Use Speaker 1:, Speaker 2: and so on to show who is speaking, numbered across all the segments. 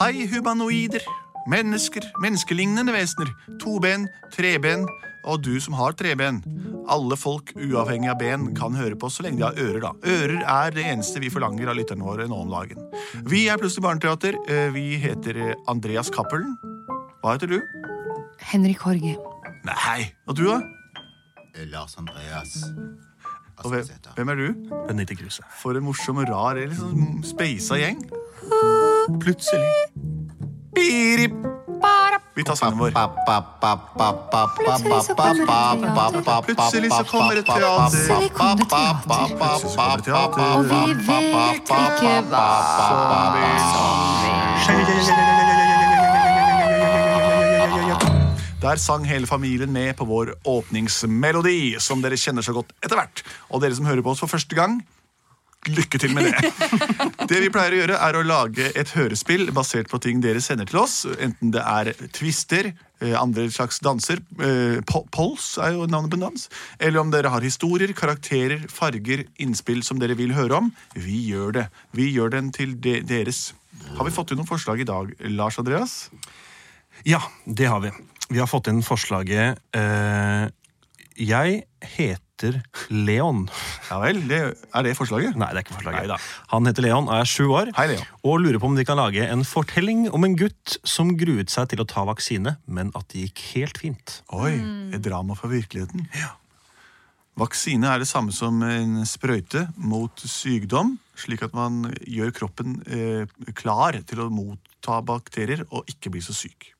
Speaker 1: Hei, humanoider. Mennesker, menneskelignende vesener. Toben, treben og du som har treben. Alle folk, uavhengig av ben, kan høre på oss så lenge de har ører, da. Ører er det eneste vi forlanger av lytterne våre nå om dagen. Vi er Plutselig barneteater. Eh, Vi heter eh, Andreas Cappelen. Hva heter du?
Speaker 2: Henrik Horge.
Speaker 1: Nei. Og du, da?
Speaker 3: Lars Andreas
Speaker 1: Og hvem,
Speaker 3: Aspesæter.
Speaker 1: hvem er du?
Speaker 4: Benedicte Kruse.
Speaker 1: For en morsom og rar, litt sånn speisa gjeng.
Speaker 4: Plutselig.
Speaker 1: Birip. Vi tar sangen vår.
Speaker 2: Plutselig så kommer
Speaker 1: Plutselig så kommer det
Speaker 2: det teater.
Speaker 1: teater.
Speaker 2: Plutselig kom det teater.
Speaker 1: Plutselig så kommer det teater.
Speaker 2: Og vi vet ikke hva
Speaker 1: Der sang hele familien med på vår åpningsmelodi, som dere kjenner så godt etter hvert. Og dere som hører på oss for første gang, lykke til med det. Det vi pleier å gjøre, er å lage et hørespill basert på ting dere sender til oss. Enten det er twister, eh, andre slags danser, eh, po- pols er jo navnet på en dans, eller om dere har historier, karakterer, farger, innspill som dere vil høre om. Vi gjør det. Vi gjør den til de deres. Har vi fått inn noen forslag i dag, Lars Andreas?
Speaker 4: Ja, det har vi. Vi har fått inn forslaget eh, Jeg heter Leon.
Speaker 1: Ja vel, det, er det forslaget?
Speaker 4: Nei, det er ikke forslaget.
Speaker 1: Neida.
Speaker 4: Han heter Leon, er sju år
Speaker 1: Hei, Leon.
Speaker 4: og lurer på om de kan lage en fortelling om en gutt som gruet seg til å ta vaksine, men at det gikk helt fint.
Speaker 1: Oi,
Speaker 2: Mm.
Speaker 1: et drama fra virkeligheten. Vaksine er det samme som en sprøyte mot sykdom, slik at man gjør kroppen eh, klar til å motta bakterier og ikke bli så syk.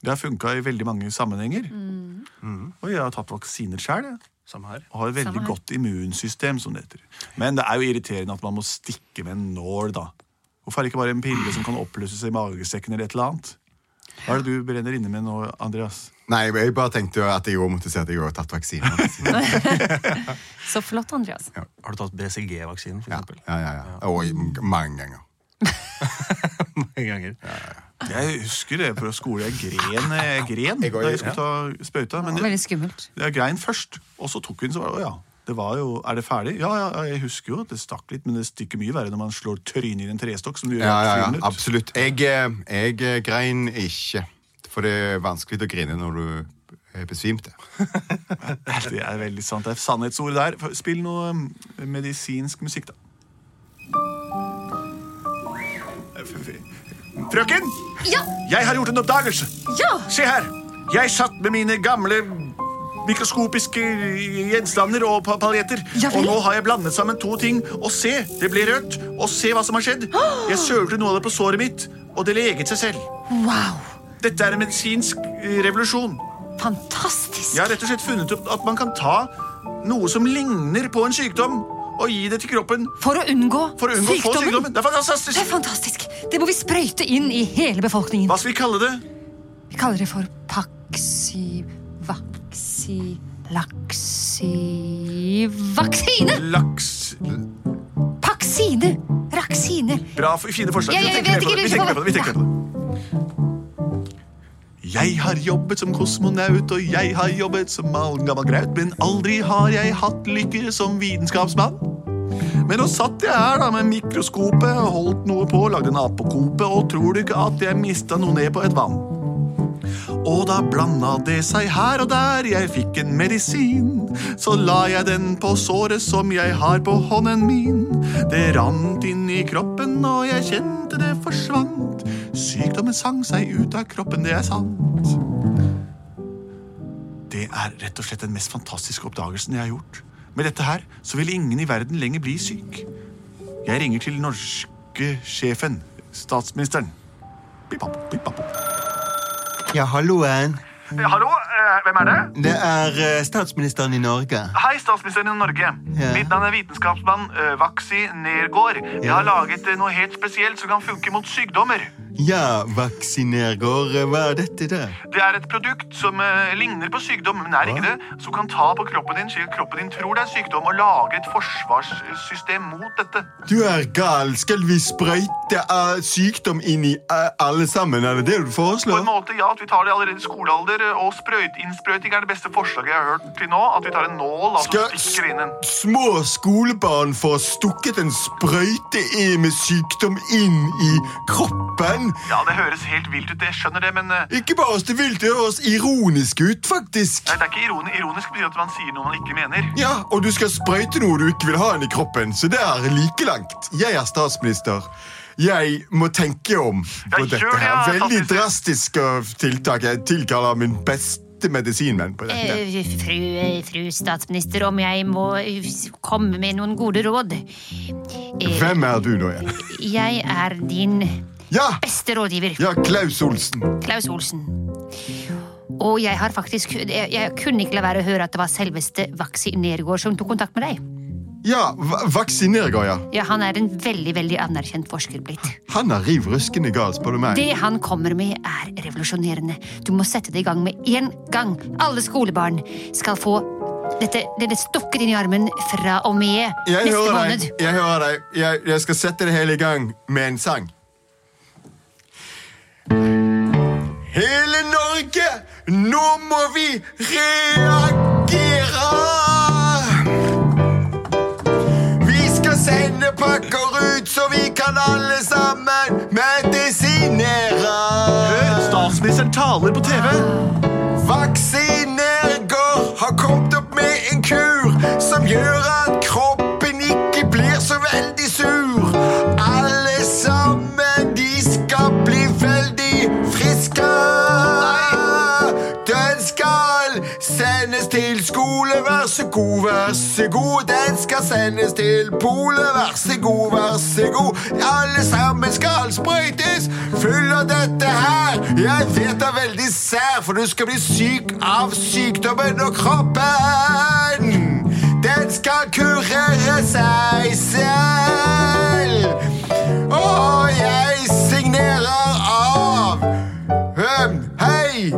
Speaker 1: Det har funka i veldig mange sammenhenger.
Speaker 2: Mm.
Speaker 1: Og jeg har tatt vaksiner sjøl.
Speaker 4: Samme her.
Speaker 1: Og har et veldig
Speaker 2: Samme her.
Speaker 1: godt immunsystem, som det heter. Men det er jo irriterende at man må stikke med en nål, da. Hvorfor er det ikke bare en pille som kan oppløses i magesekken eller et eller annet? Hva er det du brenner inne med nå, Andreas?
Speaker 3: Nei, jeg bare tenkte jo at jeg også måtte si at jeg har tatt vaksine.
Speaker 2: Så flott, Andreas.
Speaker 4: Har du tatt BCG-vaksinen, for
Speaker 3: Ja,
Speaker 4: eksempel?
Speaker 3: ja, ja, ja. Og i- mange ganger.
Speaker 4: Mange ganger.
Speaker 1: Jeg husker det fra skole. Jeg gren, jeg gren
Speaker 3: Jeg går-
Speaker 1: da jeg skulle ta sprøyta. Men
Speaker 2: Veldig
Speaker 1: jeg,
Speaker 2: skummelt.
Speaker 1: jeg grein først, og så tok hun så var det, å ja. Det var jo, Er det ferdig? Ja, ja, ja, jeg husker jo at det stakk litt, men det stikker mye verre når man slår trynet i en trestokk. som du gjør
Speaker 3: Ja, ja, ja,
Speaker 1: i et friminutt.
Speaker 3: absolutt. Jeg, eh, jeg eh, grein ikke. For det er vanskelig å grine når du er besvimte.
Speaker 1: Det er veldig sant. Det er sannhetsordet der. F- Spill noe um, medisinsk musikk, da. Frøken!
Speaker 2: Ja!
Speaker 1: Jeg har gjort en oppdagelse!
Speaker 2: Ja!
Speaker 1: Se her! Jeg satt med mine gamle mikroskopiske gjenstander og pa- paljetter.
Speaker 2: Ja vel.
Speaker 1: og nå har jeg blandet sammen to ting. Og se, det ble rødt. Og se hva som har skjedd. Jeg sølte noe av det på såret mitt, og det leget seg selv.
Speaker 2: Wow!
Speaker 1: Dette er en medisinsk eh, revolusjon.
Speaker 2: Fantastisk!
Speaker 1: Jeg har rett og slett funnet opp at man kan ta noe som ligner på en sykdom, og gi det til kroppen
Speaker 2: For å unngå,
Speaker 1: for å unngå å få sykdommen. Det er
Speaker 2: Det er
Speaker 1: fantastisk!
Speaker 2: fantastisk! Det må vi sprøyte inn i hele befolkningen.
Speaker 1: Hva skal vi kalle det?
Speaker 2: Vi kaller det for paksi... vaksi... laksi... vaksine!
Speaker 1: Laks...
Speaker 2: Paksine! Raksine!
Speaker 1: Bra, f- fine forslag. Vi
Speaker 2: Jeg- jeg
Speaker 1: tenker
Speaker 2: vet
Speaker 1: mer på det. Vi
Speaker 2: ikke,
Speaker 1: tenker mer på det. Vi
Speaker 2: jeg-
Speaker 1: tenker mer på det. Jeg har jobbet som kosmonaut, og jeg har jobbet som malgammal graut, men aldri har jeg hatt lykke som vitenskapsmann. Men nå satt jeg her da med mikroskopet, holdt noe på, lagde en apekope, og tror du ikke at jeg mista noe ned på et vann? Og da blanda det seg her og der, jeg fikk en medisin. Så la jeg den på såret som jeg har på hånden min. Det rant inn i kroppen, og jeg kjente det forsvant. Sykdommen sang seg ut av kroppen, det er sant. Det er rett og slett den mest fantastiske oppdagelsen jeg har gjort. Med dette her så vil ingen i verden lenger bli syk. Jeg ringer til norske sjefen, statsministeren. Pip, pap, pip, pap.
Speaker 5: Ja, halloen.
Speaker 1: Hallo, eh, hvem er det?
Speaker 5: Det er eh, statsministeren i Norge.
Speaker 1: Hei, statsministeren i Norge.
Speaker 5: Ja.
Speaker 1: Mitt navn er vitenskapsmann eh, Vaksi Nergård. Jeg har laget eh, noe helt spesielt som kan funke mot sykdommer.
Speaker 5: Ja, vaksinergård, eh, hva er dette da?
Speaker 1: Det er et produkt som eh, ligner på sykdom, men er ikke det. Som kan ta på kroppen din slik kroppen din tror det er sykdom, og lage et forsvarssystem mot dette.
Speaker 5: Du er gal, skal vi sprøyte eh, sykdom inn i eh, alle sammen, er det det
Speaker 1: På
Speaker 5: du
Speaker 1: en
Speaker 5: foreslår?
Speaker 1: måte, ja, at vi tar det allerede i skolealder, eh, og sprøyt, innsprøyting er det beste forslaget jeg har hørt til nå. At vi tar en nål, altså
Speaker 5: Skal-
Speaker 1: stikker inn en
Speaker 5: Små skolebarn får stukket en sprøyte i med sykdom inn i kroppen.
Speaker 1: Ja, det høres helt vilt ut, jeg skjønner det, men eh,
Speaker 5: Ikke bare oss det vilt, det høres ironisk ut, faktisk.
Speaker 1: Nei, det er ikke ironi ironisk betyr at man sier noe man ikke mener.
Speaker 5: Ja, og du skal sprøyte noe du ikke vil ha inn i kroppen, så det er like langt. Jeg er statsminister. Jeg må tenke om på
Speaker 1: Ja, gjør
Speaker 5: dette
Speaker 1: det, ja,
Speaker 5: her. Veldig
Speaker 1: statsminister.
Speaker 5: drastiske tiltak. Jeg tilkaller min beste medisinvenn på dette.
Speaker 6: Eh, Fru, eh, fru statsminister, om jeg må eh, komme med noen gode råd. Eh,
Speaker 5: Hvem er du nå igjen?
Speaker 6: Jeg er din
Speaker 5: Ja,
Speaker 6: beste rådgiver,
Speaker 5: ja, Klaus Olsen.
Speaker 6: Klaus Olsen. Og jeg har faktisk Jeg, jeg kunne ikke la være å høre at det var selveste Vaksi Nergård som tok kontakt med deg.
Speaker 5: Ja, va- vaksinergår, ja.
Speaker 6: Ja, Han er en veldig veldig anerkjent forsker blitt.
Speaker 5: Han er riv ruskende gal, spør du meg.
Speaker 6: Det han kommer med, er revolusjonerende. Du må sette det i gang med en gang. Alle skolebarn skal få dette, denne stukket inn i armen fra og med
Speaker 5: Jeg
Speaker 6: neste
Speaker 5: hører
Speaker 6: måned.
Speaker 5: deg. Jeg hører deg. Jeg, jeg skal sette det hele i gang med en sang. Hele Norge, nå må vi reagere! Vi skal sende pakker ut, så vi kan alle sammen medisinere.
Speaker 1: Statsministeren taler på TV.
Speaker 5: Vaksinerger har kommet opp med en kur som gjør at kroppen ikke blir så veldig sur. Alle sammen, de skal bli veldig friske. Den skal sendes til skole, vær så god, vær så god. Den skal sendes til polet, vær så god, vær så god. Alle sammen skal sprøytes full av dette her. Jeg vet det er veldig sær, for du skal bli syk av sykdommen og kroppen. Den skal kurere seg selv. Og jeg signerer av Høm, Hei!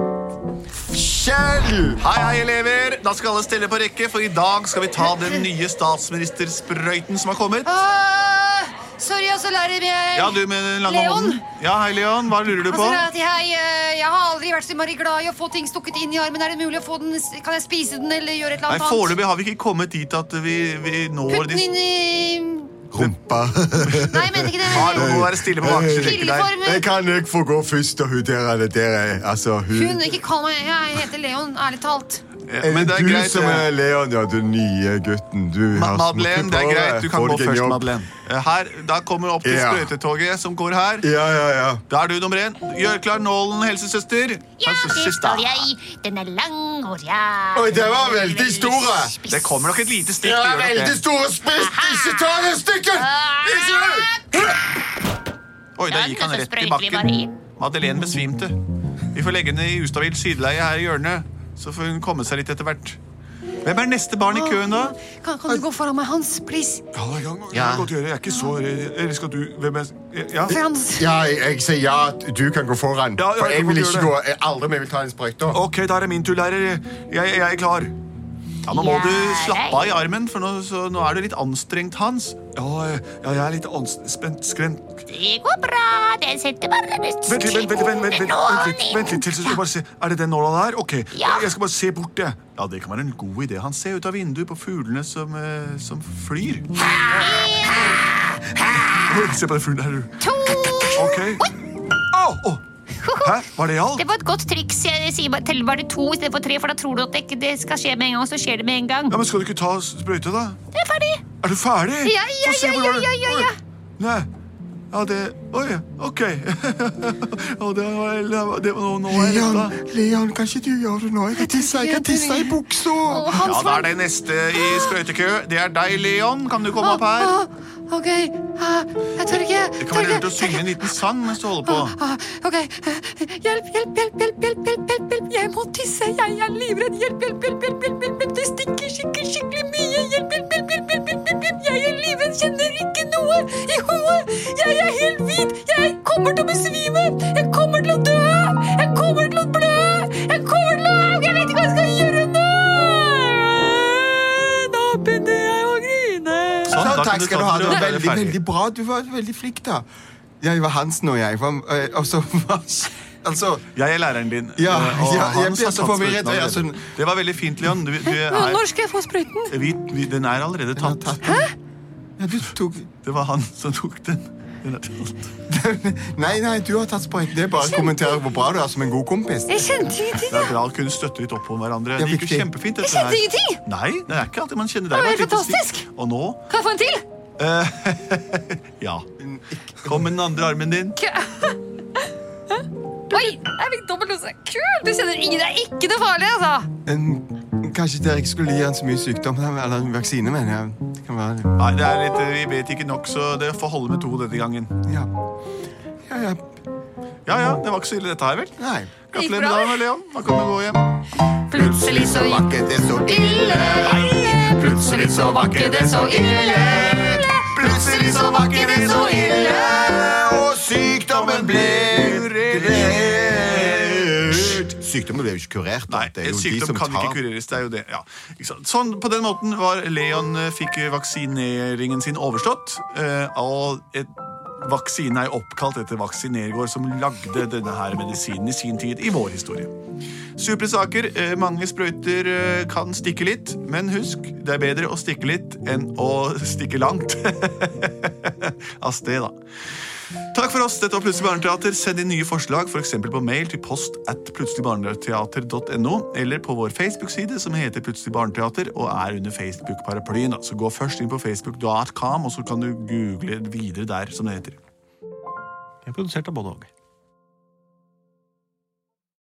Speaker 5: Kjell!
Speaker 1: Hei, hei, elever. Da skal alle stille på rekke, for i dag skal vi ta den nye statsministersprøyten som har kommet.
Speaker 2: Ah, sorry, altså, lærer jeg
Speaker 1: Ja, du med den lange
Speaker 2: Leon?
Speaker 1: hånden. Ja, hei, Leon. Hva lurer du
Speaker 2: Altså,
Speaker 1: på?
Speaker 2: lærer jeg, hei, eh, jeg har aldri vært så innmari glad i å få ting stukket inn i armen. Er det mulig å få den Kan jeg spise den, eller gjøre et
Speaker 1: Nei,
Speaker 2: eller annet annet?
Speaker 1: Foreløpig har vi ikke kommet dit at vi, vi når
Speaker 2: Putt
Speaker 1: de
Speaker 2: den inn i
Speaker 5: Rumpa.
Speaker 2: Nei, jeg mente ikke det.
Speaker 1: Ja, nå må du være stille på bakerste rekke der.
Speaker 2: Pilleformen.
Speaker 5: kan ikke få gå først og hudere enn dere. Altså,
Speaker 2: Hun, ikke kall meg Jeg heter Leon, ærlig talt.
Speaker 1: Ja, Men det er greit. eh,
Speaker 5: Leon, ja, den nye gutten. Du
Speaker 1: Ma- Madeleine, det er greit. Du kan gå først,
Speaker 5: Madeleine.
Speaker 1: Madeleine. Eh, Her, Da kommer vi opp til
Speaker 5: Ja.
Speaker 1: sprøytetoget som går her.
Speaker 5: Ja, ja, ja.
Speaker 1: Da er du nummer én. Gjør klar nålen, helsesøster.
Speaker 6: Ja, det
Speaker 1: Helsesøster.
Speaker 6: skal jeg. Den er lang og ræv.
Speaker 5: Oi, det var veldig eh. store.
Speaker 6: spiss.
Speaker 1: Det kommer nok et lite stikk.
Speaker 5: Det
Speaker 1: det
Speaker 5: var
Speaker 1: gjør nok
Speaker 5: veldig
Speaker 1: det.
Speaker 5: store spritt! Ikke ta det stykket! Ikke!
Speaker 1: Oi, da
Speaker 6: Ja,
Speaker 1: gikk han
Speaker 6: så
Speaker 1: rett i
Speaker 6: sprøyter vi bare
Speaker 1: bakken.
Speaker 6: inn.
Speaker 1: Madeleine besvimte. Vi får legge henne i ustabilt sideleie her i hjørnet, så får hun komme seg litt etter hvert. Hvem er neste barn i køen, da?
Speaker 2: Kan, kan du gå foran meg, Hans? Please.
Speaker 1: Ja, det kan jeg
Speaker 5: Ja.
Speaker 1: kan godt gjøre. Jeg er ikke så Eller skal du Hvem er Ja.
Speaker 2: Frans.
Speaker 5: Ja, jeg, jeg sier ja, du kan gå foran.
Speaker 1: Ja, ja,
Speaker 5: for
Speaker 1: jeg
Speaker 5: jeg
Speaker 1: kan
Speaker 5: vil
Speaker 1: godt
Speaker 5: ikke
Speaker 1: gjøre
Speaker 5: gå. Jeg aldri mer vil ta en sprøyte.
Speaker 1: Ok, da er det min tur, lærer. Jeg, jeg er klar. Ja, Nå må
Speaker 6: Ja,
Speaker 1: du slappe av i
Speaker 6: nei.
Speaker 1: armen, for nå, så, nå er du litt anstrengt, Hans. Ja, eh, ja jeg er litt anspent, skremt
Speaker 6: Det går bra. Den setter bare neste
Speaker 1: Vent litt, vent, vent, vent, vent, vent, vent litt,
Speaker 6: nål.
Speaker 1: vent litt til, så skal jeg bare se. Er det den nåla der? Ok,
Speaker 6: Ja.
Speaker 1: jeg skal bare se bort det. Ja, det kan være en god idé. Han ser ut av vinduet på fuglene som, eh, som flyr. Oi, Se på den fuglen her, du.
Speaker 6: To.
Speaker 1: Ok. Au! å. Hæ? Var det alt?
Speaker 6: Det var et godt triks. Jeg sier bare, teller bare to istedenfor tre, for da tror du at det ikke det skal skje med en gang, så skjer det med en gang.
Speaker 1: Ja, men Skal du ikke ta sprøyte, da?
Speaker 6: Det er ferdig.
Speaker 1: Er du ferdig?
Speaker 6: Ja, ja,
Speaker 1: Få se
Speaker 6: ja,
Speaker 1: hvordan
Speaker 6: ja,
Speaker 1: det-
Speaker 6: ja, ja,
Speaker 1: Oi.
Speaker 6: ja.
Speaker 1: Nei. Ja, det Oi, OK. Å, det var, det var, nå er jeg redd, da.
Speaker 5: Leon, kan ikke du gjøre det nå? Jeg tisser, jeg tisser i buksa.
Speaker 2: Å, Hans,
Speaker 1: Ja, da er det neste i sprøytekø. Det er deg, Leon. Kan du komme opp
Speaker 2: hva-
Speaker 1: her?
Speaker 2: Å, OK. Ah, Jeg tør ikke.
Speaker 1: Det kan
Speaker 2: tør
Speaker 1: være
Speaker 2: ikke,
Speaker 1: lurt å
Speaker 2: tør
Speaker 1: synge
Speaker 2: ikke.
Speaker 1: en liten sang mens du holder på.
Speaker 2: Ah, OK. Hjelp, hjelp, hjelp, hjelp, hjelp, hjelp, hjelp, hjelp. Jeg må tisse. Jeg er livredd. Hjelp, hjelp, hjelp, hjelp, hjelp, hjelp, hjelp. Det stikker skikkelig, skikkelig mye. Hjelp, hjelp, hjelp, hjelp, hjelp, hjelp, hjelp, hjelp. Jeg er livredd. Kjenner ikke noe i hodet. Jeg er helt hvit. Jeg kommer til å besvime.
Speaker 1: Sånn det
Speaker 3: skal du ha.
Speaker 1: tar dere å
Speaker 3: Det var
Speaker 1: være
Speaker 3: veldig,
Speaker 1: ferdig.
Speaker 3: veldig bra. Du var veldig flink, da. Jeg var Hansen og jeg. Var, eh, og så var Altså
Speaker 1: Jeg er læreren din.
Speaker 3: Ja,
Speaker 1: eh, og
Speaker 3: ja, jeg
Speaker 1: Hans
Speaker 3: ble
Speaker 1: har
Speaker 3: så
Speaker 1: tatt
Speaker 3: forvirret,
Speaker 1: sprøyten
Speaker 3: og jeg
Speaker 1: allerede.
Speaker 3: sånn-
Speaker 1: Det var veldig fint, Leon. Du, du er,
Speaker 2: Når skal jeg få sprøyten?
Speaker 1: vi, vi, den er allerede
Speaker 3: jeg har
Speaker 1: tatt.
Speaker 3: tatt den. Ja, du tok
Speaker 1: Det var han som tok den. Den er tatt.
Speaker 3: Nei, nei, du har tatt sprøyten. Det er bare å kommentere hvor bra du er som en god kompis.
Speaker 6: Jeg kjente ingenting.
Speaker 1: Det er bra å kunne støtte litt opp om hverandre.
Speaker 3: Det er
Speaker 1: Det gikk jo
Speaker 3: viktig.
Speaker 1: kjempefint.
Speaker 6: Jeg
Speaker 1: dette her.
Speaker 6: kjente ingenting.
Speaker 1: Nei, det er ikke alltid man kjenner deg.
Speaker 6: Det var
Speaker 1: bare
Speaker 6: helt
Speaker 1: et lite stikk.
Speaker 6: fantastisk.
Speaker 1: Og nå
Speaker 6: Kan jeg få en til?
Speaker 1: ja. Kom med den andre armen din.
Speaker 6: Oi, jeg fikk dobbeltdose. Kult! Du kjenner ingen. Det er ikke noe farlig, altså.
Speaker 3: En, kanskje dere ikke skulle gi han så mye sykdom, eller en vaksine, mener jeg. Det kan være
Speaker 1: Nei, det er litt, eh, Vi vet ikke nok, så det får holde med to denne gangen.
Speaker 3: Ja. Ja, ja.
Speaker 1: Ja, ja, Det var ikke så ille, dette her, vel?
Speaker 3: Nei.
Speaker 1: Gratulerer
Speaker 6: bra,
Speaker 1: med dagen, Leon. Da kan du gå hjem.
Speaker 6: Plutselig så
Speaker 5: Var ikke det så ille? Plutselig så var ikke det så ille. Plutselig så var ikke det så ille. Og sykdommen ble kurert. Sykdommen ble jo ikke kurert. da.
Speaker 1: Nei,
Speaker 5: Det er
Speaker 1: en
Speaker 5: jo de
Speaker 1: sykdom
Speaker 5: som
Speaker 1: kan
Speaker 5: tar-
Speaker 1: ikke kureres. det er jo det, ja. Ikke sant? Sånn, På den måten var Leon eh, fikk vaksineringen sin overstått. eh, Og et, vaksinen er jo oppkalt etter vaksinergård, som lagde denne her medisinen i sin tid i vår historie. Supre saker. eh, Mange sprøyter eh, kan stikke litt, men husk, det er bedre å stikke litt enn å stikke langt. Av sted, da. Takk for oss. Dette var Plutselig barneteater. Send inn nye forslag, f.eks. på mail til post at plutseligbarneteater.no, eller på vår Facebook-side som heter Plutselig barneteater og er under Facebook-paraplyen. da. Så gå først inn på facebook.com, og så kan du google videre der, som det heter.
Speaker 4: Jeg er produsert av både og.